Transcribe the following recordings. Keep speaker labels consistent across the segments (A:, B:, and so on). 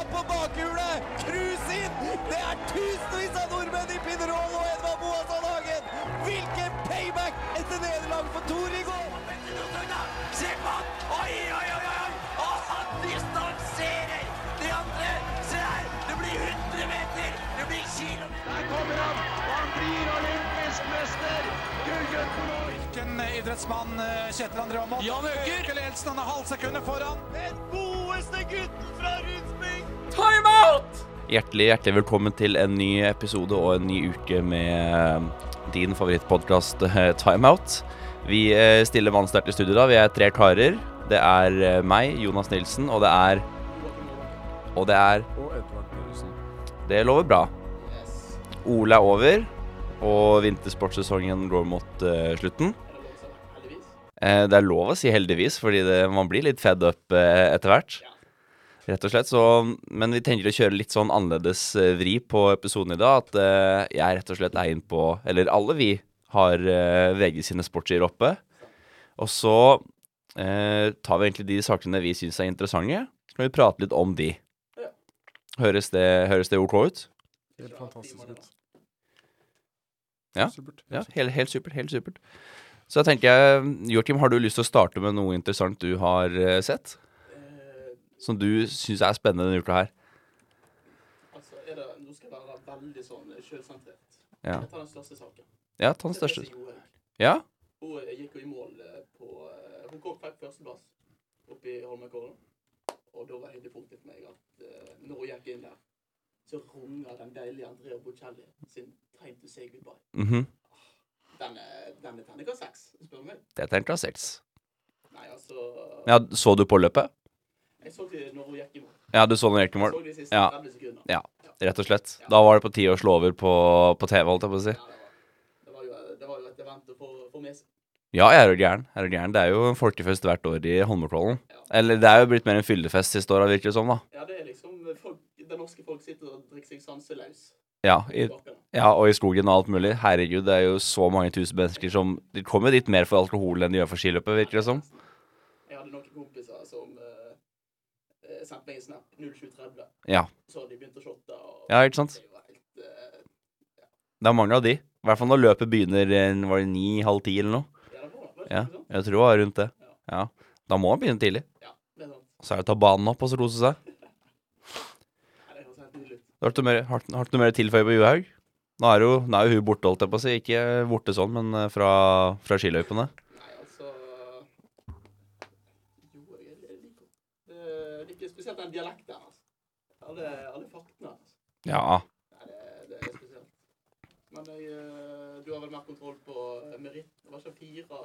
A: opp på bakhjulet! Cruise inn! Det er tusenvis av nordmenn i Pinerol og Edvard Boasson Hagen! Hvilken payback etter nederlaget for Tor i går!
B: Se på han! Oi, oi, oi! oi! Og han distanserer de andre! Se her! Det blir 100 meter! Det blir kilometer!
C: Der kommer han! Og han blir olympisk mester! Gullgutten vår!
D: Hvilken idrettsmann eh, Kjetil André Aamodt?
B: Jan Øker!
D: Øker Elsen, han er halvt sekundet foran.
A: Den godeste gutten fra Rundsbygd!
E: Hjertelig, hjertelig velkommen til en ny episode og en ny uke med eh, din favorittpodkast Timeout. Vi eh, stiller mannsterkt i studio da. Vi er tre karer. Det er eh, meg, Jonas Nilsen, og det er Og det er Og Edvard Børresen. Det lover bra. OL er over, og vintersportsesongen går mot eh, slutten. Eh, Det er lov å si heldigvis, fordi det, man blir litt fed up eh, etter hvert. Rett og slett, så, Men vi tenker å kjøre litt sånn annerledes eh, vri på episoden i dag. At eh, jeg rett og slett er inn på Eller alle vi har eh, VG sine sportsider oppe. Og så eh, tar vi egentlig de sakene vi syns er interessante. Så kan vi prate litt om de. Høres det, høres det OK ut?
F: Helt fantastisk ut.
E: Ja.
F: Supert.
E: Ja, helt, helt supert. Helt supert. Så da tenker jeg, Joakim, har du lyst til å starte med noe interessant du har eh, sett? Som du syns er spennende denne uka her?
G: Altså, er det, Nå skal jeg være veldig sånn sjølsentrert.
E: Ja.
G: Jeg tar den største saken.
E: Ja, ta
G: Det
E: den
G: er
E: største.
G: Therese Johaug.
E: Ja?
G: Hun eh, gikk jo i mål eh, på eh, Hun kom fikk førsteplass oppe i Holmenkollen. Og da var høydepunktet for meg at eh, når hun gikk inn der, så runger den deilige Andrea Bocelli sin 'Time to say goodbye'.
E: mhm.
G: Den er, den er terningkast seks, spør du meg.
E: Dette er en klasse seks.
G: Nei, altså
E: Ja, så du på løpet?
G: Jeg så det når hun gikk i mål.
E: Ja, du så den
G: Jeg
E: Ekemål?
G: så de siste
E: Ja.
G: 30 sekundene.
E: Ja, rett og slett. Da var det på tide å slå over på, på TV, holdt jeg på å si.
G: Ja, det, var, det, var jo, det var jo et event å få, få med seg.
E: Ja, jeg er jo gæren. Jeg er jo gæren. Det er jo en folkefest hvert år i Holmenkollen. Eller det er jo blitt mer en fyllefest siste åra, virker det som, da.
G: Ja, det er liksom folk, Det norske folk sitter og drikker seg sanseløs.
E: Ja, i,
G: Bakgrunnen.
E: ja, og i skogen og alt mulig. Herregud, det er jo så mange tusen mennesker som De kommer jo dit mer for alkohol enn de gjør for skiløpet, virker det som.
G: Jeg hadde noen kompiser som eh, eh, sendte meg en snap 0730,
E: Ja.
G: så hadde de begynt å shotte. Og
E: Ja, ikke sant?
G: Det var helt eh,
E: Det er mange av de. I hvert fall når løpet begynner eh, Var det ni, halv ti eller noe?
G: Ja, det var det.
E: Ja,
G: Ikke sant?
E: jeg tror det var rundt det. Ja. Da må man begynne tidlig.
G: Ja, det er sant.
E: Så er det å ta banen opp og så kose seg.
G: Ja, det høres helt nydelig ut.
E: Har du mer- har du har du noe mer å tilføye på Johaug? Nå er jo, nå er jo hun borte, holdt jeg på å si. Ikke borte sånn, men eh, fra, fra skiløypene.
G: Nei, altså Jo, jeg jeg liker det. Jeg liker spesielt den dialekten hennes. Alle, alle faktene hennes.
E: Ja.
G: Nei, det, det er spesielt. Men jeg, eh, du har vel mer kontroll på eh, meritt? Det var ikke fire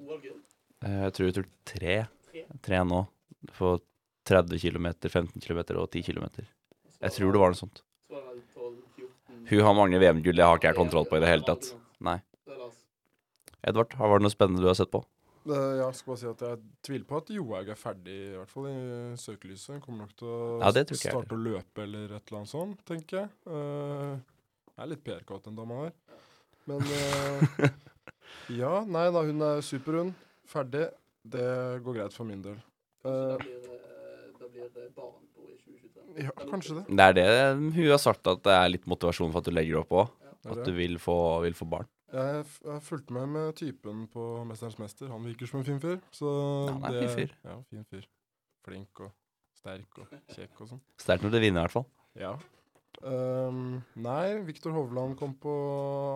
G: OL-gull?
E: eh, Jeg tror hun tok tre.
G: Tre?
E: Tre nå. På 30 km, 15 km og 10 km. Jeg tror det var noe sånt.
G: Så var det vel 12-14
E: Hun har mange VM-gull, det har ikke jeg kontroll på i det hele tatt. Nei.
G: Det er Lars.
E: Edvard, har vært noe spennende du har sett på?
F: Eh, Jeg skal bare si at jeg tviler på at Johaug er ferdig, i hvert fall i søkelyset. Hun kommer nok til å
E: Ja, det tror ikke jeg
F: starte å løpe eller et eller annet sånt, tenker jeg. Eh, Jeg er litt PR-kåt, den dama her. Men eh, Ja, nei da, hun er super, hun. Ferdig. Det går greit for min del.
G: Da
F: Eh,
G: blir, eh, da blir det barn på i 2023.
F: ja, kanskje det.
E: Det er det hun har sagt, at det er litt motivasjon for at du legger opp òg.
F: Det er
E: At
F: det.
E: du vil få, vil få barn.
F: Jeg, f- jeg fulgte med med typen på 'Mesterens mester'. Han virker som en fin fyr. Så
E: Ja, han er en
F: det,
E: fin fyr.
F: Ja, fin fyr. Flink og sterk og kjekk og sånn.
E: Sterkt når du vinner, i hvert fall.
F: Ja. Ehm, nei, Viktor Hovland kom på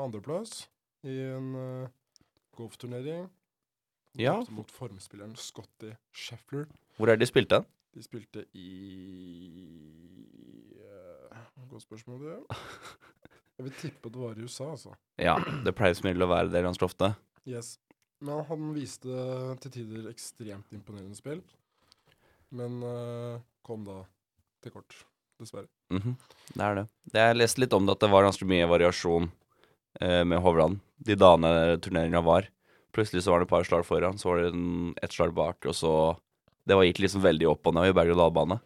F: andreplass i en eh, golfturnering.
E: Ja.
F: Tapte Mot formspilleren Scotty Sheffler.
E: Hvor er det de spilte hen?
F: De spilte i eh, Godt spørsmål, det. Jeg vil tippe det var i USA, altså.
E: Ja, det pleier som regel å være det ganske ofte.
F: Yes. Men han viste til tider ekstremt imponerende spill. Men eh, kom da til kort, dessverre.
E: Mhm, Det er det. det. Jeg leste litt om det, at det var ganske mye variasjon eh, med Hovland. De dagene turneringa var. Plutselig så var det et par slag foran, så var det en, et slag bak, og så Det var, gikk liksom veldig opp og ned i berg-og-dal-bane.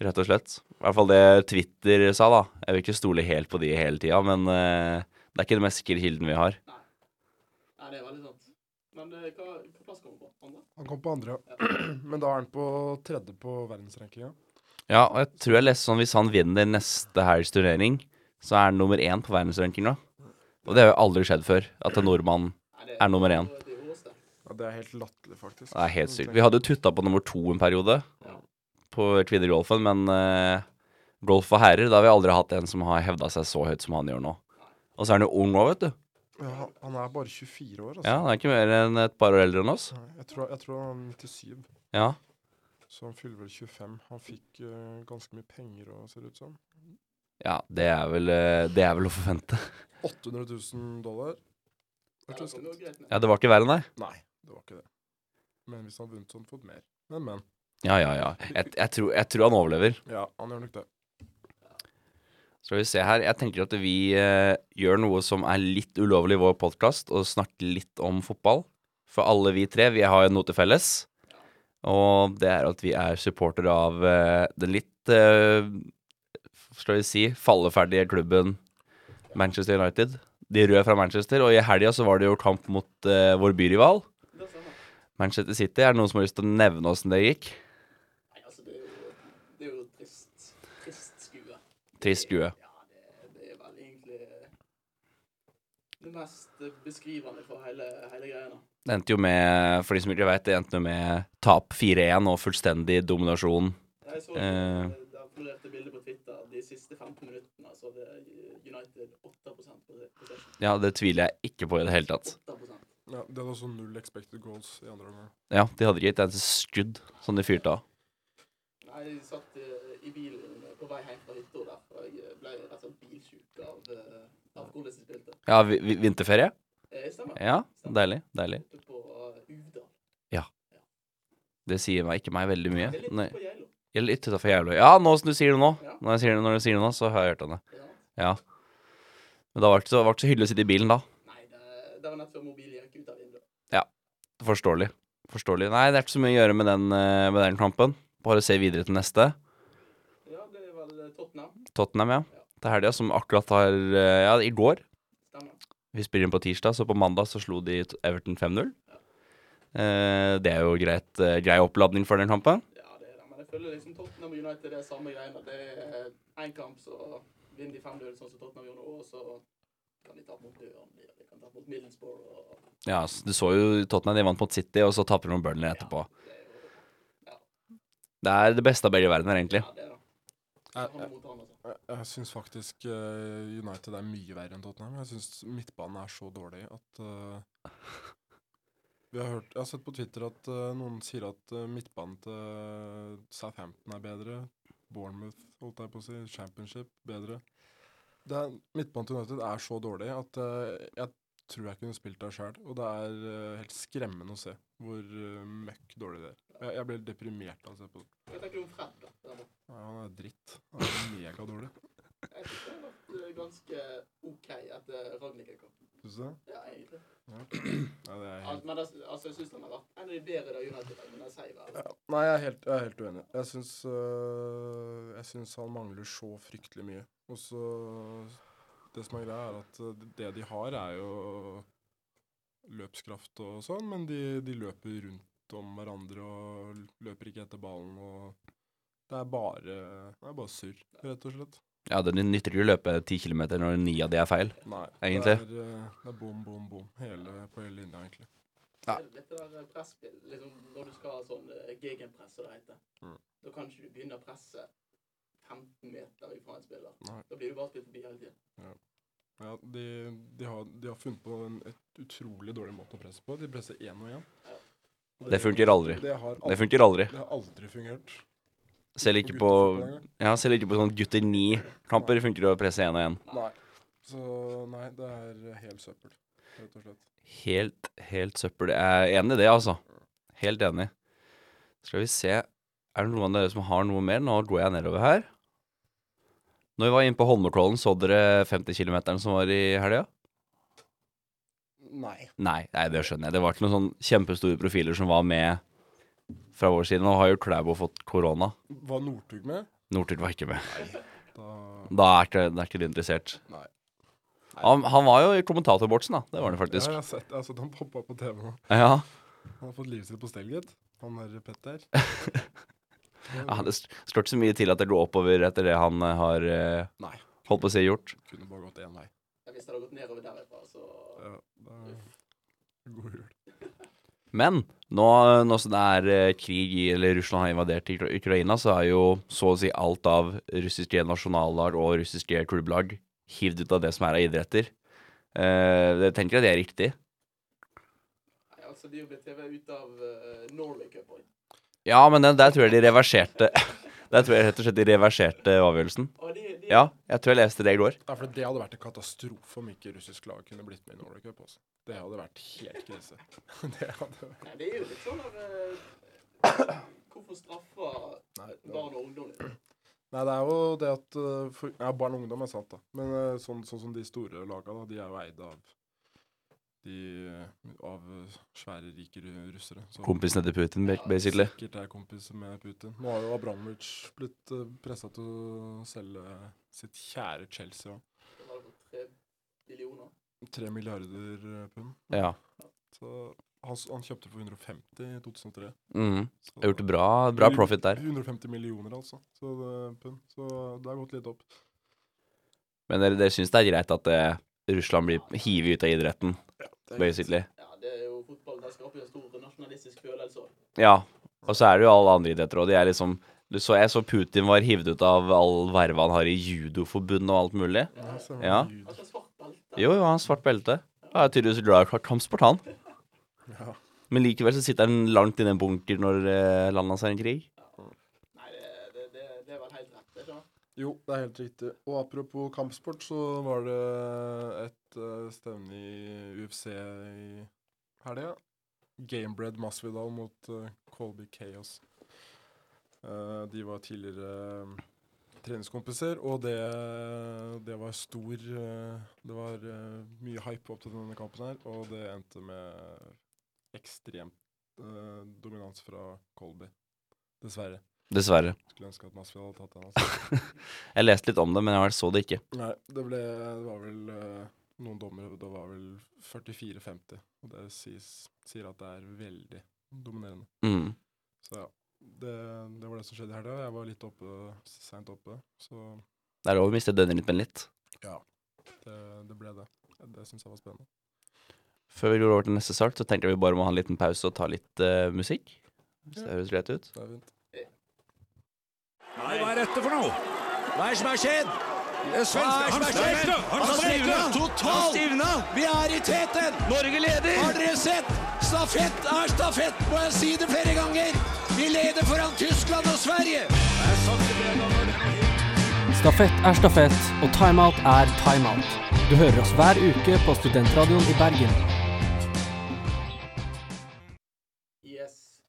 E: Rett og slett. I hvert fall det Twitter sa, da. Jeg vil ikke stole helt på de hele tida, men eh, det er ikke den mest sikre kilden vi har.
G: Nei, det er veldig sant. Men eh, hva, hva plass kommer på? Andre?
F: Han kom på andre, men da er han på tredje på verdensrankinga.
E: Ja, og jeg tror jeg leste sånn hvis han vinner neste helgs turnering, så er han nummer én på verdensrankinga. Og det har jo aldri skjedd før, at en nordmann
G: Nei, det
E: er nummer én.
G: Det er råsterkt.
F: Ja, det er helt latterlig, faktisk.
E: Det er helt sykt. Vi hadde jo tutta på nummer to en periode på kvinnegolfen, men eh, golf for herrer, da har vi aldri hatt en som har hevda seg så høyt som han gjør nå. Og så er han jo ung òg, vet du.
F: Ja, han- han er bare 24 år,
E: Ja,
F: altså.
E: Han er ikke mer enn et par år eldre enn oss.
F: Jeg, tror, jeg tror han er 97,
E: Ja.
F: så han fyller vel 25. Han fikk eh, ganske mye penger òg, ser det ut som.
E: ja det, er vel, eh, det er vel å forvente.
F: 800 000 dollar.
G: Ja,
F: Hørtes
G: det
F: ut.
G: går greit med.
E: Ja, det var ikke verre, nei.
F: Nei, det var ikke det. Men hvis han hadde vunnet, så hadde han fått mer. Men, men.
E: Ja, ja, ja. Jeg, jeg, tror, jeg tror han overlever.
F: Ja, han gjør nok det.
E: Så skal vi se her. Jeg tenker at vi eh, gjør noe som er litt ulovlig i vår podkast, og snakker litt om fotball. For alle vi tre, vi har jo noe til felles. Og det er at vi er supportere av eh, den litt eh, Skal vi si falleferdige klubben Manchester United. De røde fra Manchester. Og i helga så var det jo kamp mot eh, vår byrival.
G: Det er samme.
E: Manchester City. Er det noen som har lyst til å nevne åssen det gikk?
G: Nei, altså, det er jo, det er jo trist. Trist skue.
E: Trist skue.
G: Ja, det, det er vel egentlig eh, det mest beskrivende for hele, hele greia. da.
E: Det endte jo med, for de som ikke vet, det endte jo med tap 4-1 og fullstendig dominasjon.
G: Jeg så
E: Eh.
G: det, det florerte bilder på Twitter de siste 15 minuttene. Så det er United 8 på possession.
E: Ja, det tviler jeg ikke på i det hele tatt.
G: 8
F: Ja, det hadde også null expected goals i andre omgang.
E: Ja, de hadde ikke et eneste skudd som de fyrte av.
G: Nei, jeg satt eh, i bilen på vei hjem fra hytta der, og jeg ble rett og slett bilsjuk av, eh, av hvordan de spilte.
E: Ja, vi, vi, vinterferie?
G: Eh, stemmer.
E: Ja, deilig, deilig.
G: Oppe på eh, Uvdal.
E: Det sier meg ikke meg veldig mye.
G: Det er litt
E: Nei,
G: på Geilo.
E: jeg er litt utenfor jævlig. Ja, nå som du sier det nå, når, jeg sier det, når du sier det nå, så har jeg hørt henne.
G: Ja.
E: Ja. Men det var ikke så, var ikke så hyggelig å sitte i bilen da.
G: Nei, det, det var nett før mobilen gikk ut av vinduet.
E: Forståelig. Forståelig. Nei, det er ikke så mye å gjøre med den, eh, med den kampen. Bare se videre til neste.
G: Ja, det er vel eh, Tottenham.
E: Tottenham, ja. Til helga, som akkurat har eh, Ja, i går
G: Stemmer.
E: Vi spiller inn på tirsdag, så på mandag så slo de t- Everton 5-0. Eh, det er jo greit, eh, grei oppladning for den kampen.
G: Ja, det er det. Men jeg føler liksom Tottenham og United er samme greiene. Det er én kamp, så vinner de 5-0, sånn som Tottenham gjorde nå, og så kan de tape mot Burnley, og de kan tape mot Middlesbrough og
E: Ja, s- Du så jo Tottenham de vant mot City, og så taper de mot Burnley etterpå. Det er det beste av begge verdener, egentlig.
G: Ja, det er det.
F: Eh,
G: Så han mot han, altså.
F: Jeg, jeg syns faktisk eh, United er mye verre enn Tottenham. Jeg syns midtbanen er så dårlig at eh, vi har hørt, Jeg har sett på Twitter at eh, noen sier at eh, midtbanen til Southampton er bedre. Bournemouth, holdt jeg på å si. Championship, bedre. Det er, midtbanen til United er så dårlig at eh, jeg tror jeg kunne spilt der sjøl. Og det er eh, helt skremmende å se hvor eh, møkk dårlig det er. Jeg, jeg blir deprimert av å se på det.
G: Hva tenker du om Fred, da? Der borte?
F: Ja, han er dritt. Han er megadårlig.
G: Jeg synes det har vært eh, ganske OK etter Ragnhild kom.
F: Syns du det?
G: Ja, egentlig.
F: Ja, det er helt
G: Al- Men det, altså, jeg synes han har vært en av de bedre da United var, men jeg sier vel
F: Ja. Nei, jeg er helt, jeg er helt uenig. Jeg syns, øh, jeg syns han mangler så fryktelig mye. Og så Det som er greia, er at øh, det de har, er jo løpskraft og sånn, men de, de løper rundt om hverandre og løper ikke etter ballen og Det er bare, det er bare surr, rett og slett.
E: Ja, Det nytter ikke å løpe ti kilometer når ni av de er feil.
F: Nei.
E: Egentlig.
F: Det er, øh, det er bom, bom, bom hele, på hele linja, egentlig.
E: Ja.
G: er det Dette der eh, presspill, liksom når du skal ha sånn eh, gegenpress, som det heter,
F: Mm.
G: da kan ikke du begynne å presse 15 meter ifra en spiller.
F: Nei.
G: Da blir du bare spilt forbi hele tiden.
F: Ja, de, de, har, de har funnet på en et utrolig dårlig måte å presse på. De presser én og én.
E: Det funker aldri.
F: Det har aldri,
E: Det funker aldri.
F: det har aldri fungert.
E: Selv ikke på Ja, selv ikke på sånn gutter ni-kamper funker det å presse én og én.
F: Nei. Så nei, det er helt søppel, rett og slett.
E: Helt, helt søppel. Jeg er enig i det, altså. Helt enig. Skal vi se Er det noen av dere som har noe mer? Nå går jeg nedover her. Når vi var inne på Holmenkollen, så dere 50 km som var i helga?
F: Nei.
E: Nei, nei, det skjønner jeg. Det var ikke noen sånn kjempestore profiler som var med fra vår side. Nå har jo Klæbo fått korona.
F: Var Northug med?
E: Northug var ikke med.
F: Da
E: Da er ikke, da er ikke du interessert.
F: Nei.
E: Han, han var jo i kommentatorboksen, da. Det var han
F: Ja,
E: faktisk.
F: jeg har sett, jeg har sett han poppa på TV nå.
E: Ja.
F: Han har fått livet sitt på stell, gitt. Han der Petter.
E: Ja, det st- står ikke så mye til at det går oppover etter det han eh, har eh,
F: Nei.
E: holdt på å si gjort.
F: Kunne bare gått én vei.
G: Men Hvis det hadde gått nedover derfra, så
F: Ja, det er god jul.
E: Men nå eh, når det er eh, krig i, eller Russland har invadert Ukra- Ukraina, så er jo så å si alt av russiske nasjonallag og russiske klubblag hivd ut av det som er av idretter. Eh, jeg tenker at det er riktig.
G: Nei, altså, de er jo blitt TV ut av eh, Norway Cup også.
E: Ja, men den, der tror jeg de reverserte Der tror jeg rett og slett de reverserte avgjørelsen.
G: Og de, de,
E: Ja, jeg tror jeg leste det i går.
F: Ja, for det hadde vært en katastrofe om ikke russisk lag kunne blitt med i Norway Cup. Altså. Det hadde vært helt krise. Det hadde vært
G: Nei, det er jo litt sånn at eh, Hvorfor straffer
F: Nei, det hadde-
G: barn og ungdom det?
F: Nei, det er jo det at eh, for, ja, Barn og ungdom er sant, da. Men eh, sånn, sånn som de store laga, da, de er jo eid av de eh, av eh, svære, rike ru- russere. Så
E: Kompisene til Putin, ba- basically.
F: sikkert er kompiser med Putin. Nå har jo Abramovic blitt uh, pressa til å selge sitt kjære Chelsea. da.
G: Det var for tre billioner.
F: Tre milliarder eh, pund.
E: Ja.
F: Så han, s- han kjøpte for 150 i 2003.
E: Mm.
F: Så,
E: Jeg har gjort bra, bra profit der.
F: 150 millioner, altså. Så det, pund. Så det har gått litt opp.
E: Men dere, dere syns det er greit at eh, Russland blir hivet ut av idretten, basically.
G: Ja, det er jo fotball. Det skaper jo en stor nasjonalistisk følelse også.
E: Ja. Og så er det jo alle andre idretter òg. De er liksom du så, Jeg så Putin var hivd ut av all verva han har i judoforbundet og alt mulig.
F: Ja, så er det
E: Ja.
F: jud-
G: Altså svart belte.
E: Jo, jo, han har svart belte. Ja, jeg er tydeligvis glad i kampsport, han.
F: Ja.
E: Men likevel så sitter han langt inne i en bunker når eh, landet hans er i en krig.
G: Nei, det, det, det, det er vel helt rett, det, ikke sant?
F: Jo, det er helt riktig. Og apropos kampsport, så var det et eh, stevne i UFC i helga. Gamebred Masvidal mot eh, Colby Chaos. Eh, de var tidligere eh, treningskompiser, og det, det var stor eh, Det var eh, mye hype opp til denne kampen her, og det endte med ekstremt eh, dominans fra Colby. Dessverre.
E: Dessverre.
F: Skulle ønske at Masvidal hadde tatt den. Altså.
E: Jeg leste litt om det, men jeg så det ikke.
F: Nei, det ble Det var vel eh, noen dommere Det var vel 44-50. Og det sies, sier at det er veldig dominerende.
E: Mm.
F: Så ja. Det, det var det som skjedde i helga. Jeg var litt oppe, seint oppe, så
E: Det er lov å miste døgnrytmen litt.
F: det, det ble det. Det syns jeg var spennende.
E: Før vi går over til neste sak, så tenker jeg vi bare må ha en liten pause og ta litt eh, musikk. Hvis det høres greit ut.
F: Det er fint.
D: Nei, hva er dette for noe? Hva er det som har skjedd? Han stivna! Han stivna totalt! Vi er i teten! Norge leder! Har dere sett? Stafett er stafett, må jeg si det flere ganger! Vi leder foran Tyskland og Sverige!
H: Stafett er stafett, og timeout er timeout. Du hører oss hver uke på Studentradioen i Bergen.
G: Yes.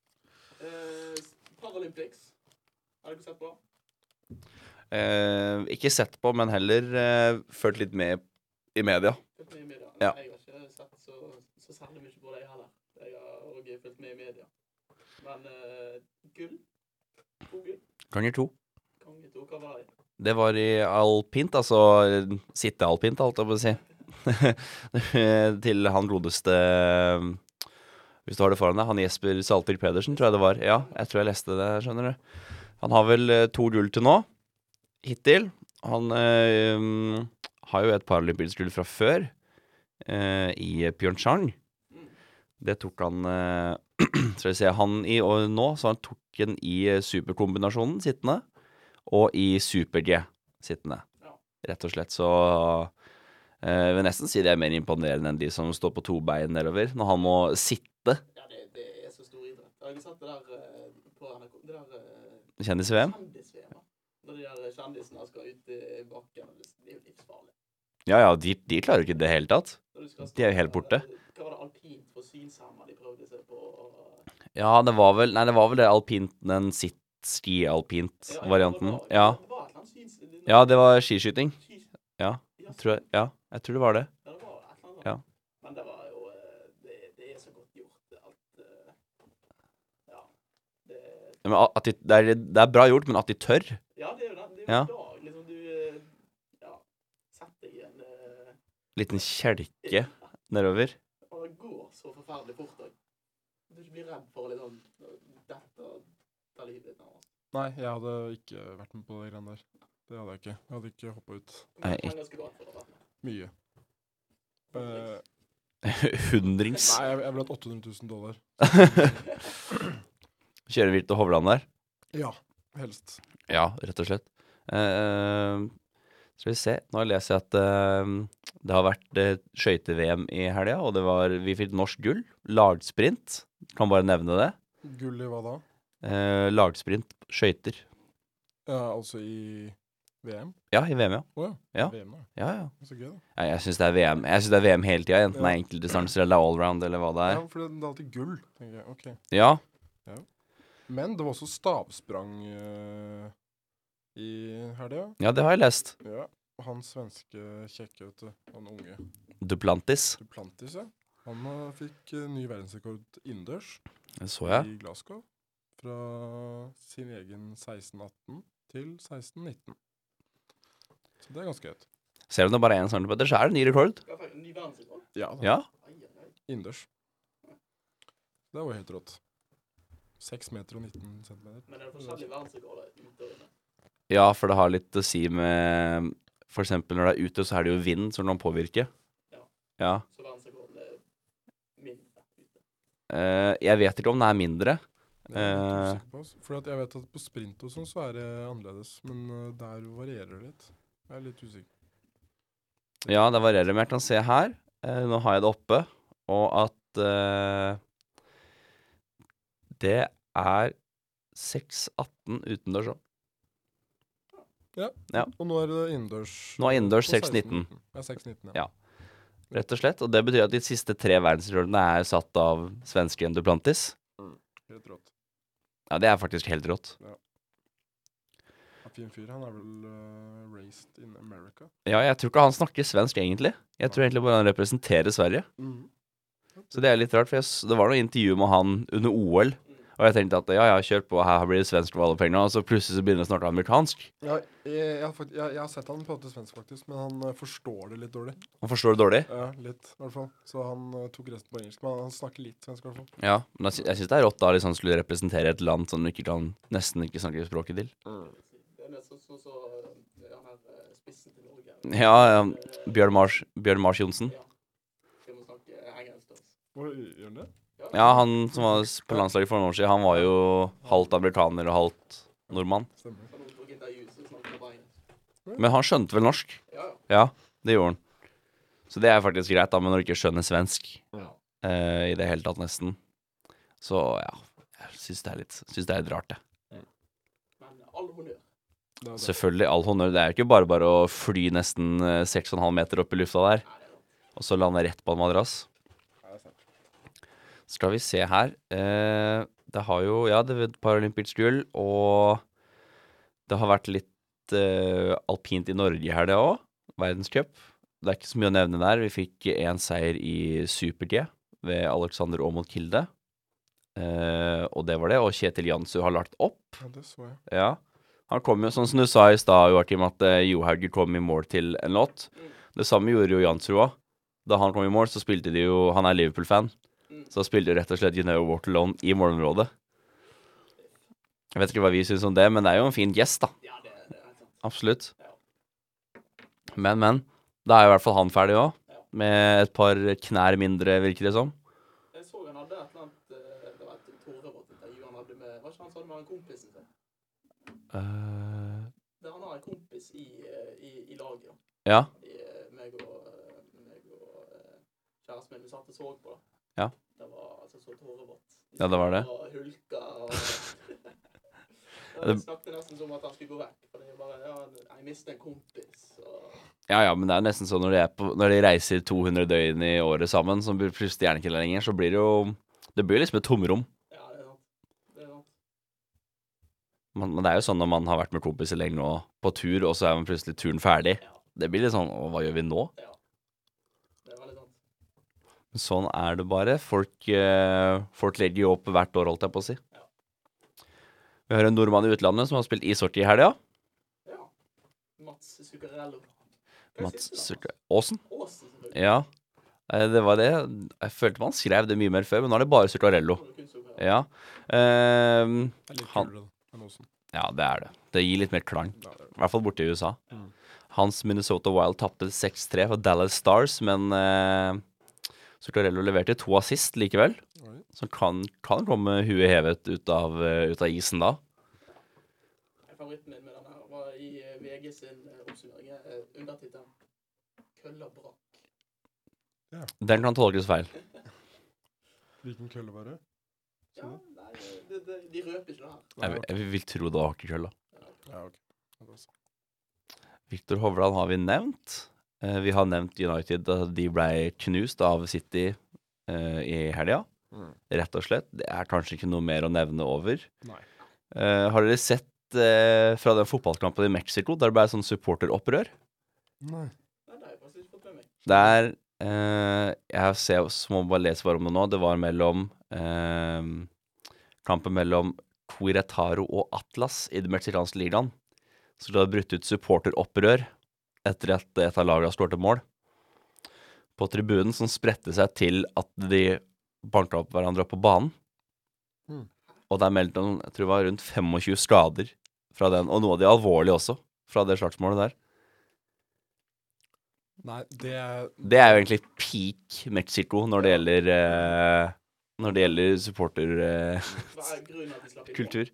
G: Eh, Paralympics. Har dere sett på?
E: Eh, ikke sett på, men heller eh, fulgt litt med i media.
G: Fulgt med i media.
E: Ja.
G: Jeg har ikke sett så, så særlig mye på det heller. Jeg har også fulgt med i media. Men eh, gull? To gull?
E: Ganger to.
G: Konge to, hva var det?
E: Det var i alpint, altså sittealpint, holdt jeg på å si. Til han godeste Hvis du har det foran deg, han Jesper Salter Pedersen, tror jeg det var. Ja, jeg tror jeg leste det, skjønner du. Han har vel eh, to gull til nå, hittil. Han eh, um, har jo et paralympisk gull fra før, eh, i Pyeongchang. Det tok han eh, Skal vi se, han i og nå, så han tok den i eh, superkombinasjonen sittende og i super-G sittende.
G: Ja.
E: Rett og slett så eh, Jeg vil nesten si det er mer imponerende enn de som står på to bein nedover, når han må sitte
G: Ja, det, det er så stor idrett. Jeg har sett det der eh, på NRK Det der eh,
E: kjendis-VM.
G: kjendis-VM. da. Når de der kjendisene skal ut i bakken. Det er jo livsfarlig.
E: Ja ja, de, de klarer jo ikke det i det hele tatt.
G: Når du skal eh,
E: De er jo helt borte.
G: Hva var det alpint for synshemma de prøvde seg på?
E: Ja, det var vel Nei, det var vel det alpint, den sitt-ski-alpint-varianten. Ja.
G: Det var et eller annet syns...
E: ja, det var skiskyting,
G: Sky-
E: Ja,
G: Ja,
E: tror jeg. Ja, jeg tror det var det.
G: Ja, det var et eller annet.
E: Ja.
G: Men det var jo eh, Det, det er så godt gjort at eh, Ja. Det,
E: Men at de, det, er, det er bra gjort, men at de tør
G: ja, det er jo det. Det er jo
E: Ja.
G: en dag liksom du eh, Ja. Sett deg i en eh,
E: Liten kjelke nedover.
G: Og det går så forferdelig fort òg. Du blir redd for liksom Dette tar livet ditt. nå.
F: Nei, jeg hadde ikke vært med på de greiene der. Det hadde jeg ikke. Jeg hadde ikke hoppa ut
E: Nei,
G: Hvor mange penger skulle du hatt for å være med?
F: mye. Eh,
E: Hundrings.
F: nei, jeg, jeg ville hatt 800 000 dollar.
E: Kjøre vilt til Hovland der.
F: Ja, helst.
E: Ja, rett og slett. Eh, skal vi se. Nå leser jeg at eh, det har vært eh, skøyte-VM i helga, og det var, vi fikk norsk gull. Lagsprint. Kan bare nevne det.
F: Gull i hva da?
E: Eh, lagsprint, skøyter.
F: Ja, altså i VM?
E: Ja, i VM, ja.
F: Å ja.
E: Ja.
F: VM, da.
E: ja, ja.
F: Så gøy, da.
E: Ja, jeg syns det er VM Jeg synes det er VM hele tida, enten det
F: Ja.
E: er enkeltdistanser eller allround eller hva det
F: Ja,
E: er.
F: for det, det er alltid gull, tenker jeg. Ok.
E: Ja,
F: Men det var også stavsprang eh, i helga.
E: ja det har jeg lest.
F: Ja. Han svenske kjekke, vet du. Han unge.
E: Duplantis.
F: Duplantis, ja. Han eh, fikk eh, ny verdensrekord innendørs
E: Det så jeg.
F: i Glasgow. Fra sin egen 1618 til 1619. Så det er ganske høyt.
E: Selv om det bare er én centimeter, så er det ny rekord.
G: Hva fikk du? Ny verdensrekord?
F: Ja, da.
E: Ja.
G: Ai, ai, ai.
F: innendørs. Det var jo helt rått. 6 meter og 19 centimeter.
G: Men det er forskjellige verdensrekorder ute og inne.
E: ja, for det har litt å si med For eksempel når det er ute, så er det jo vind som kan påvirke.
G: Ja.
E: Ja.
G: Så verdensrekorden er mindre ute.
E: Eh, jeg vet ikke om det er mindre.
F: Det er jeg litt
E: Eh.
F: usikker på, altså. Fordi at jeg vet at på sprint og sånn så er det annerledes, men eh, der varierer det litt. Jeg er litt usikker.
E: Ja, det varierer, men jeg kan se her. eh, nå har jeg det oppe, og at eh, Det er 6,18 utendørs òg.
F: Og nå er det innendørs.
E: Nå er innendørs
F: på
E: 6,19.
F: 16,19. Ja, 6,19,
E: Ja. Rett og slett. Og det betyr at de siste tre verdensrekordene er satt av svensken Duplantis.
F: ja. Helt rått.
E: Ja, det er faktisk helt rått.
F: Ja, fin fyr. Han er vel eh, raised in America.
E: Ja, jeg tror ikke han snakker svensk, egentlig. Jeg tror egentlig bare han representerer Sverige. Så det er litt rart, for jeg, s- det var noe intervju med han under OL, og jeg tenkte at ja, ja, kjør på, her blir det svensk for alle pengene, og så plutselig så begynner det snart amerikansk.
F: Ja, jeg, jeg, har fakt- jeg, jeg har sett han prate svensk, faktisk, men han eh, forstår det litt dårlig.
E: Han forstår det dårlig.
F: Ja, litt, i hvert fall. Så han eh, tok resten på engelsk, men han, han snakker litt svensk, i hvert fall.
E: Ja, men jeg, sy- jeg syns det er rått da liksom skulle representere et land som du ikke kan, nesten ikke snakker språket til.
G: Det er nesten sånn som så, han her eh, spissen til Norge.
E: Ja, ja,
G: Eh,
E: Bjørn Mars, Bjørn Mars Johnsen.
G: Vi må snakke eh, engelsk til oss.
F: Hvor gjør han det?
E: Ja, han som var s- på landslaget for noen år siden, han var jo halvt amerikaner og halvt nordmann.
F: Stemmer.
G: Så når vi får intervju, så snakker vi bare engelsk.
E: Men han skjønte vel norsk?
G: Ja, ja.
E: Ja, det gjorde han. Så det er faktisk greit, da, men når du ikke skjønner svensk eh, i det hele tatt, nesten, så ja Jeg syns det er litt, synes det er litt rart, det.
G: Men all honnør.
F: Det er det.
E: Selvfølgelig, all honnør. Det er jo ikke bare bare å fly nesten eh, 6,5 meter opp i lufta der, og så lande rett på en madrass. Skal vi se her eh, Det har jo, ja, det var Paralympics gull, og det har vært litt eh, alpint i Norge i helga òg. Verdenscup. Det er ikke så mye å nevne der. Vi fikk én seier i super-G ved Alexander Aamodt Kilde. Eh, og det var det. Og Kjetil Jansrud har lagt opp.
F: Ja, det så jeg.
E: Ja. Han kom jo, sånn som du sa i stad, Joakim, at eh, Johaug kom i mål til en låt. Det samme gjorde jo Jansrud òg. Da han kom i mål, så spilte de jo Han er Liverpool-fan. Så han spilte jo rett og slett You Know What Alone i målområdet. Jeg vet ikke hva vi syns om det, men det er jo en fin gjest, da.
G: Ja, det, det er helt sant.
E: Absolutt.
G: Ja.
E: Men, men. Da er jo i hvert fall han ferdig òg.
G: Ja.
E: Med et par knær mindre, virker det som.
G: Jeg så han hadde et eller annet eh, Det var et Tore vårt intervju han hadde med Var ikke han sånn med han kompisen sin?
E: Eh,
G: Det han har en kompis i, eh, i, i laget. da.
E: ja.
G: I, eh, meg og, eh, meg og eh, kjæresten min. Vi satt og så på, da.
E: Ja.
G: Det var altså så Tore vårt.
E: Ja, det var det.
G: Og hulka og
E: det-
G: Jeg snakket nesten som at han skulle gå vekk. For det er bare ja, Jeg mistet en kompis. Og
E: Ja, ja, men det er nesten sånn når de, er på, når de reiser 200 døgn i året sammen, som blir plutselig gjerne ikke lenger, så blir det jo Det blir liksom et tomrom.
G: ja, det er sant. Det er sant.
E: Men, men det er jo sånn når man har vært med kompiser lenge nå, på tur, og så er man plutselig turen ferdig.
G: Ja.
E: Det blir litt sånn Å, hva gjør vi nå?
G: Ja. Det er veldig sant.
E: Sånn er det bare. Folk, eh, folk legger jo opp hvert år, holdt jeg på å si. Vi har en nordmann i utlandet som har spilt ishockey i helga.
G: Ja. Mats Zuccarello. Hva
E: Mats
G: sitter han?
E: Sørte- Aasen.
G: Åsen, selvfølgelig.
E: Ja, eh, det var det. Jeg følte man skrev det mye mer før, men nå er det bare Zuccarello.
G: Nå er det kun Zuccarello.
E: Ja. Eh,
F: Det er litt
E: Han-
F: kulere da, enn Osen.
E: Ja, det er det. Det gir litt mer klang. I hvert fall borte i USA. Hans Minnesota Wild tapte 6-3 for Dallas Stars, men eh, Sortarello leverte to assist likevel. Så han kan, kan komme huet hevet ut av, eh, ut av isen da.
G: Favoritten min med denne her var i eh, VG sin eh, oppsummering. eh, Undertittelen 'Kølla brakk'.
E: Den kan tolkes feil.
F: Hvilken kølle var det?
G: Ja, nei, eh, det, det, de røper ikke det her.
E: Jeg, vil- jeg vil tro det var hockeykølla.
F: Ja, ok. Ja, det er sant.
E: Viktor Hovland har vi nevnt. Eh, vi har nevnt United. da De ble knust av City eh, i helga.
F: Mm.
E: Rett og slett. Det er kanskje ikke noe mer å nevne over.
F: Nei.
E: Eh, har dere sett eh, fra den fotballkampen i Mexico der det ble sånn supporteropprør?
F: Nei.
G: Nei, det har jeg faktisk ikke fått med meg.
E: Der eh, Jeg ser, så må jeg bare lese bare om det nå. Det var mellom eh, Kampen mellom Queretaro og Atlas i den meksikanske ligaen. Så det har brutt ut supporteropprør etter at et av lagene skåret mål. På tribunen som spredte seg til at de banka opp hverandre opp på banen.
F: Mm.
E: Og det er meldt om jeg tror det var rundt 25 skader fra den, og noe av de alvorlige også, fra det slagsmålet der.
F: Nei, det er
E: Det er jo egentlig peak Mexico når det gjelder eh, Når det gjelder supporterkultur.
G: Hva er grunnen til at de slapp inn?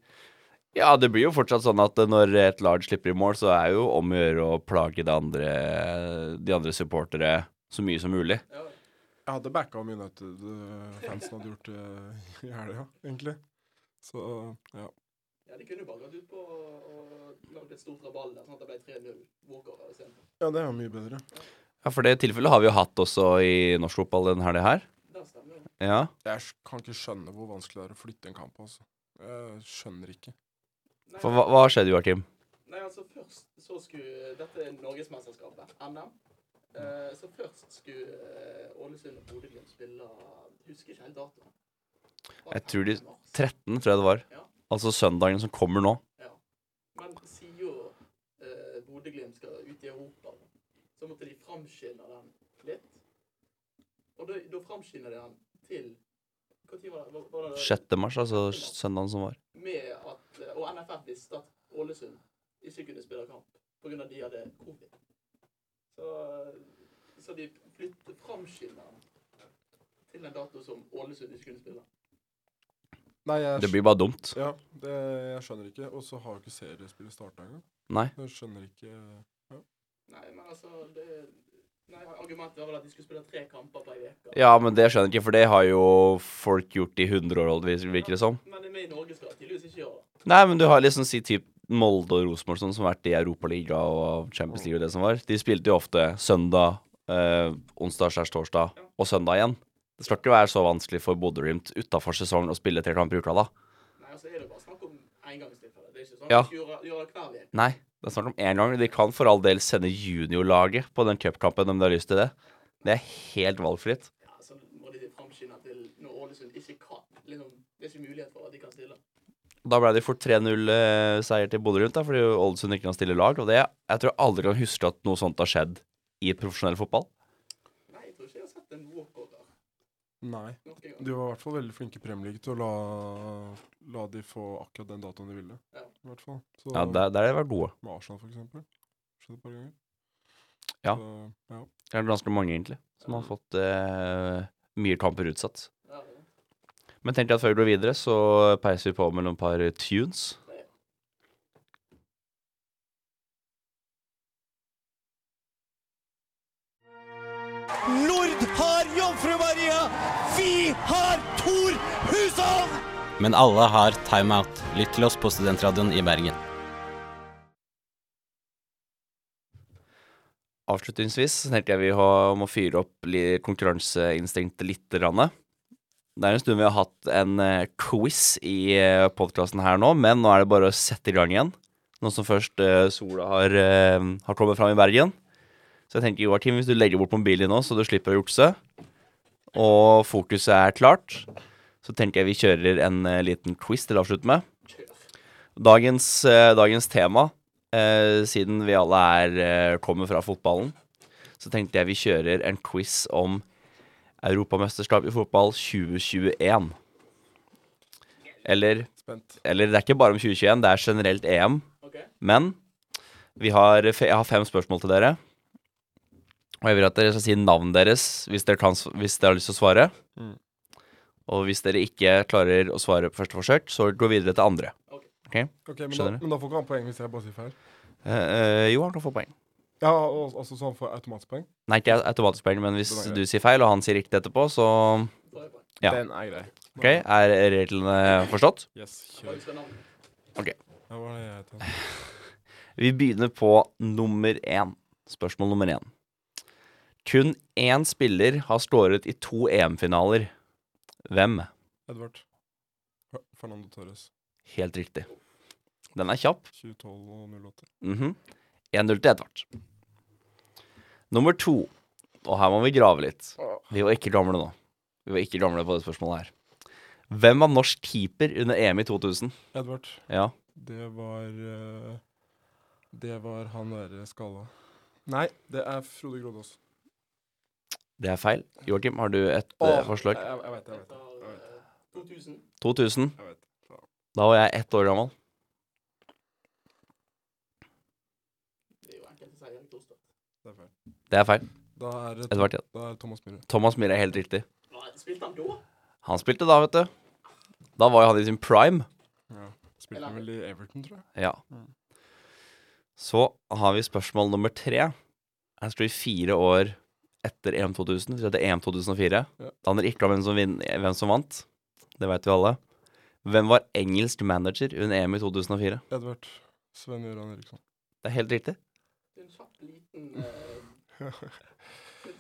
E: ja, det blir jo fortsatt sånn at eh, når et lag slipper i mål, så er jo om å gjøre å plage de andre, de andre supportere så mye som mulig.
G: Ja,
F: Jeg hadde backa om United-fansen hadde gjort det i helga, egentlig. Så ja.
G: ja, de kunne jo bare gått ut på og lagd et stort rabalder, sånn at det ble 3-0 walkover istedenfor.
F: ja, det er mye bedre.
E: Ja, for det tilfellet har vi jo hatt også i norsk fotball denne helga her.
G: Det stemmer jo.
E: Ja.
F: Jeg sk- kan ikke skjønne hvor vanskelig det er å flytte en kamp, altså. Jeg skjønner ikke.
G: Nei,
E: For hva, hva skjedde, Joakim?
G: Nei, altså først så skulle Dette er Norgesmesterskapet, NM. Eh, så først skulle eh, Ålesund og Bodø-Glimt spille jeg Husker ikke helt datoen. Var det
E: Jeg tror de-
G: 15. mars?
E: 13, Hm, tror jeg det var.
G: Ja.
E: Altså søndagen som kommer nå.
G: Ja. Men siden eh, Bodø-Glimt skal ut i Europa, så måtte de framskynde den litt. Og da, da framskynder de den til Når var det? Var- Var det
E: 6. mars, altså søndagen som var.
G: med at eh, Og NFF visste at Ålesund ikke kunne spille kamp pga. de hadde covid. Så, eh, så de flytter framskynderen til en dato som Ålesund ikke kunne spille.
F: Nei, jeg,
E: Det blir bare dumt.
F: ja, det, jeg skjønner ikke. Og så har jo ikke seriespillet starta engang.
E: Nei.
F: Jeg skjønner ikke
G: Nei, men altså det, Nei, Argumentet var vel at de skulle spille tre kamper på ei uke.
E: Ja, men det skjønner jeg ikke, for det har jo folk gjort i hundre år, virker virker det som.
G: Men vi i Norge skal tydeligvis ikke gjøre det.
E: Nei, men du har liksom si typ Molde og Rosenborg sånn, som har vært i Europaliga og Champions League og det som var. De spilte jo ofte søndag, eh, onsdag, skjærs torsdag og søndag igjen. Det skal ikke være så vanskelig for Bodø-Glimt utafor sesong å spille tre kamper i uka da.
G: Nei, altså er det bare snakk om engangstilfeller. Det er ikke sånn
E: Ja.
G: at de gjør, gjør det hver uke.
E: Nei, det er snakk om én gang. De kan for all del sende juniorlaget på den cupkampen om de har lyst til det. Det er helt valgfritt.
G: Ja, så må de framskynde til når Ålesund ikke kan. Liksom, det er ikke mulighet for at de kan stille.
E: Da ble det fort 3-0-seier til Bodø Glimt, da, fordi Ålesund ikke kan stille lag. Og det, jeg tror jeg aldri kan huske at noe sånt har skjedd i profesjonell fotball.
G: Nei, jeg tror ikke jeg har sett en walkover
F: Nei.
G: noen gang.
F: De var i hvert fall veldig flinke i Premier League til å la, la de få akkurat den datoen de ville.
G: Ja.
F: I hvert fall. Så,
E: Ja, der, der har de vært gode.
F: Med Arsenal, for eksempel. Skjedde et par ganger.
E: Ja.
F: Så, ja.
E: Det er ganske mange, egentlig, som har fått eh, mye kamper utsatt.
G: Ja, det er det.
E: Men tenk deg at før vi går videre, så peiser vi på med noen par tunes.
A: Nord har Jomfru Maria! Vi har Thor Hushovd!
I: Men alle har timeout. Lytt til oss på Studentradioen i Bergen.
E: Avslutningsvis så tenker jeg vi har, må fyre opp li- konkurranseinstinktet litt. Rann. Det er en stund vi har hatt en eh, quiz i uh, podkasten her nå, men nå er det bare å sette i gang igjen. Nå som først eh, sola har, eh, har kommet fram i Bergen. Så jeg tenker Joakim, hvis du legger bort mobilen din nå, så du slipper å jukse, og fokuset er klart, så tenker jeg vi kjører en eh, liten quiz til å avslutte med. Dagens, eh, dagens tema Eh, siden vi alle er, eh, kommer fra fotballen, så tenkte jeg vi kjører en quiz om Europamesterskap i fotball 2021. Eller
F: Spent.
E: Eller det er ikke bare om 2021, det er generelt EM.
G: OK?
E: Men vi har, fe- jeg har fem spørsmål til dere. Og jeg vil at dere skal si navnet deres hvis dere, kan, s- hvis dere har lyst til å svare.
F: Mm.
E: Og hvis dere ikke klarer å svare på første forsøk, så gå videre til andre.
F: Ok, men, da,
E: Skjønner du?
F: men da får ikke han poeng hvis jeg bare sier feil.
E: Eh, eh, jo, han kan få poeng.
F: Ja, og, altså så han får automatpoeng?
E: Nei, ikke automatisk poeng, men hvis
F: Den er grei.
E: du sier feil, og han sier riktig etterpå, så
G: Da er det bra.
E: Ja.
F: Den er grei.
E: OK, er reglene forstått?
F: Yes,
G: Bare
F: kjør.
G: husk navnet.
F: Ja, hva er det jeg heter?
E: Vi begynner på nummer én. Spørsmål nummer én. Kun én spiller har scoret i to EM-finaler. Hvem?
F: Edvard. F- Fernando Torres.
E: Helt riktig. Den er kjapp.
F: 2012 og 08.
E: Mhm. 1-0 til Edvard. Nummer to. Og her må vi grave litt. Vi var ikke gamle nå. Vi var ikke gamle på det spørsmålet her. Hvem var norsk keeper under EM i 2000?
F: Edvard.
E: Ja,
F: Det var eh, Det var han derre skalla. Nei, det er Frode Grodås.
E: det er feil. Joakim, har du et eh,
F: Åh,
E: forslag?
F: Jeg, jeg, jeg vet det. Jeg vet det.
G: Etter eh, 2000
E: 2000.
F: Jeg vet.
E: Da var jeg ett år gammel.
G: Det er jo enkelt å si Erik Dostad.
F: Det er feil.
E: Det er feil.
F: Da er det,
E: Edvard, ja.
F: da er det Thomas Myhre.
E: Thomas Myhre er helt riktig.
G: Nei, Spilte han da?
E: Han spilte da, vet du. Da var jo han i sin prime.
F: Ja. Spilte vel i Everton, tror jeg.
E: Ja.
F: Mm.
E: Så har vi spørsmål nummer tre. Her står vi fire år etter EM 2000. Vi heter EM 2004.
F: Ja.
E: Det handler ikke om hvem som, vin, hvem som vant. Det vet vi alle. Hvem var engelsk manager under EM i 2004?
F: Edvard. Sven Gøran Eriksson.
E: Det er helt riktig.
G: Det er en kjapp liten uh,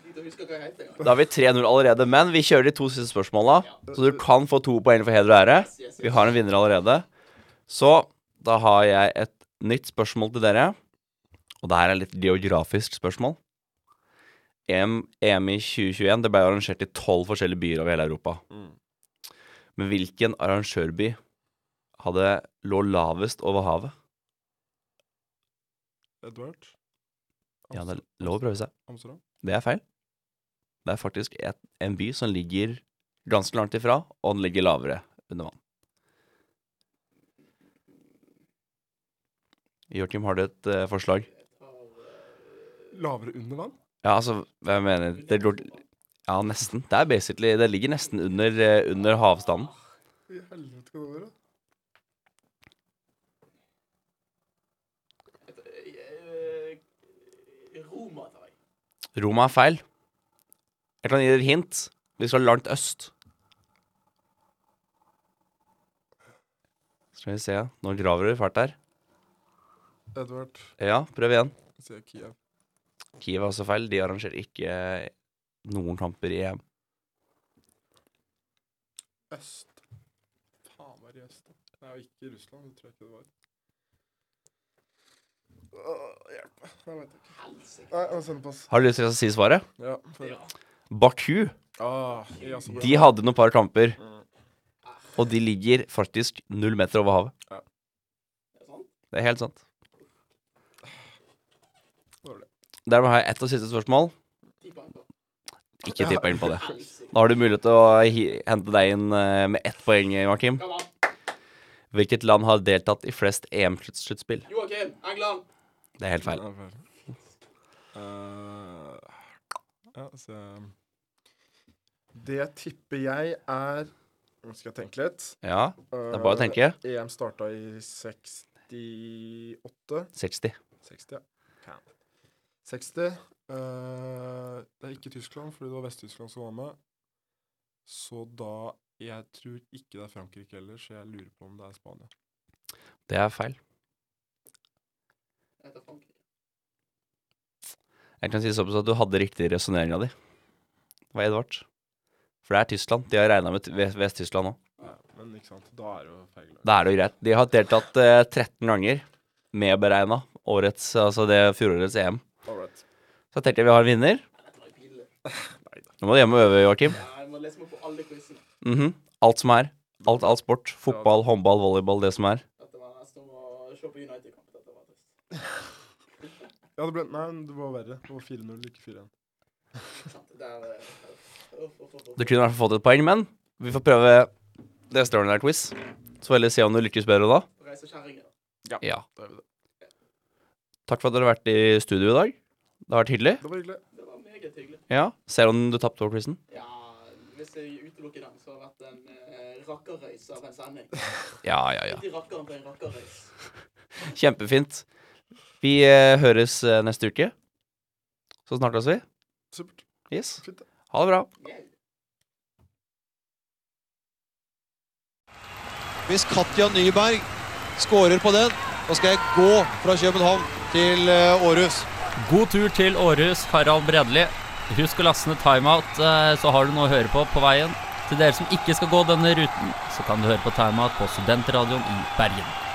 G: Lite å huske hva jeg heter engang.
E: Da har vi 3-0 allerede, men vi kjører de to siste spørsmåla. Så du kan få to poeng for heder og ære.
G: Yes, yes,
E: Vi har en vinner allerede. Så da har jeg et nytt spørsmål til dere. Og det her er litt geografisk spørsmål. EM, EM i 2021 det ble arrangert i tolv forskjellige byer over hele Europa.
G: Mm.
E: Men hvilken arrangørby hadde lå lavest over havet?
F: Edvard.
E: Ja, det er lov å prøve seg.
F: Amsterdam.
E: Det er feil. Det er faktisk et, en by som ligger ganske langt ifra, og den ligger lavere under vann. Joakim, har du et eh, forslag?
F: Lavere under vann?
E: Ja, altså, hva jeg mener det lå, Ja, nesten. Det er basically Det ligger nesten under, eh, under havstanden.
F: I helvete skal det være.
G: Eh, Roma, tar jeg.
E: Roma er feil. Jeg kan gi dere et hint. Vi skal langt øst. Skal vi se Nå graver dere fælt her.
F: Edvard.
E: Ja, prøv igjen.
F: Jeg sier Kiev.
E: Kiev er også feil. De arrangerer ikke eh, noen kamper i EM.
F: Øst. Faen meg i øst. da. Nei, og ikke i Russland. Det tror jeg ikke det var. Åh, hjelp meg. Jeg vet ikke. Nei, jeg må sende pass.
E: Har du lyst til å si svaret?
F: Ja. for-
E: Baku.
F: Ah, ja, så bra.
E: De hadde noen par kamper. Og de ligger faktisk null meter over havet.
F: Ja.
E: Det er helt sant.
F: Det var det.
E: Dermed har jeg ett og siste spørsmål.
G: Ti poeng på.
E: Ikke tipp inn på det.
G: Helsike.
E: Da har du mulighet til å hi- hente deg inn eh, med ett poeng, Joakim.
G: Kom an.
E: Hvilket land har deltatt i flest EM-sluttspill?
G: Joakim, England.
E: Det er helt feil.
F: Ja, feil. Eh, ja, så jeg- Det tipper jeg er Nå skal jeg tenke litt.
E: Ja,
F: Eh,
E: det er bare å tenke.
F: EM starta E i 68.
E: 60.
F: 60, ja. 60. eh, det er ikke Tyskland, fordi det var Vest-Tyskland som var med. Så da Jeg tror ikke det er Frankrike heller, så jeg lurer på om det er Spania.
E: Det er feil.
G: Jeg heter Frankrike.
E: Jeg kan si såpass at du hadde riktig resonneringa di. Det var Edvard. For det er Tyskland. De har regna med T- Vest- Vest-Tyskland nå.
F: Ja, men ikke sant, da er det jo feil. lag.
E: Da er det jo greit. De har deltatt eh, 13 ganger, medberegna årets, altså det fjorårets EM.
F: All right.
E: Så jeg tenker vi har en vinner.
G: Dette var jo pinlig.
E: Nå må du hjem og øve, Joakim.
G: Ja, Jeg må lese meg på alle quizene.
E: Mhm. Alt som er. Alt, alt sport. Fotball, håndball, volleyball, det som er.
G: Dette var nesten som å se på United-kamp. Dette var trist.
F: Ja, det ble Nei, men det var verre. Det var 4-0, ikke 4-1.
G: Sant? Det er eh, uff, uff, uff, uff.
E: Du kunne i hvert fall fått et poeng, men vi får prøve neste ordinære quiz. Så får vi heller se om du lykkes bedre da.
G: Reiser kjerringa.
E: Ja.
F: Da gjør vi det.
E: Takk for at dere har vært i studio i dag. Det har vært hyggelig.
F: Det var hyggelig.
G: Det var meget hyggelig.
E: Ja. Ser om du tapte over quizen.
G: Ja, hvis jeg utelukker den, så har det vært en eh, rakkerrøys av en sending.
E: Ja, ja, ja.
G: Ikke rakkeren på en rakkerrøys.
E: Kjempefint. Vi eh, høres eh, neste uke. Så snakkes vi.
F: Supert.
E: Yes.
F: Fint, det.
E: Ha det bra.
G: Yeah.
A: Hvis Katja Nyberg skårer på den, da skal jeg gå fra København til eh, Århus.
J: God tur til Århus, Harald Bredli. Husk å laste ned timeout, eh, så har du noe å høre på på veien. Til dere som ikke skal gå denne ruten, så kan du høre på timeout på studentradioen i Bergen.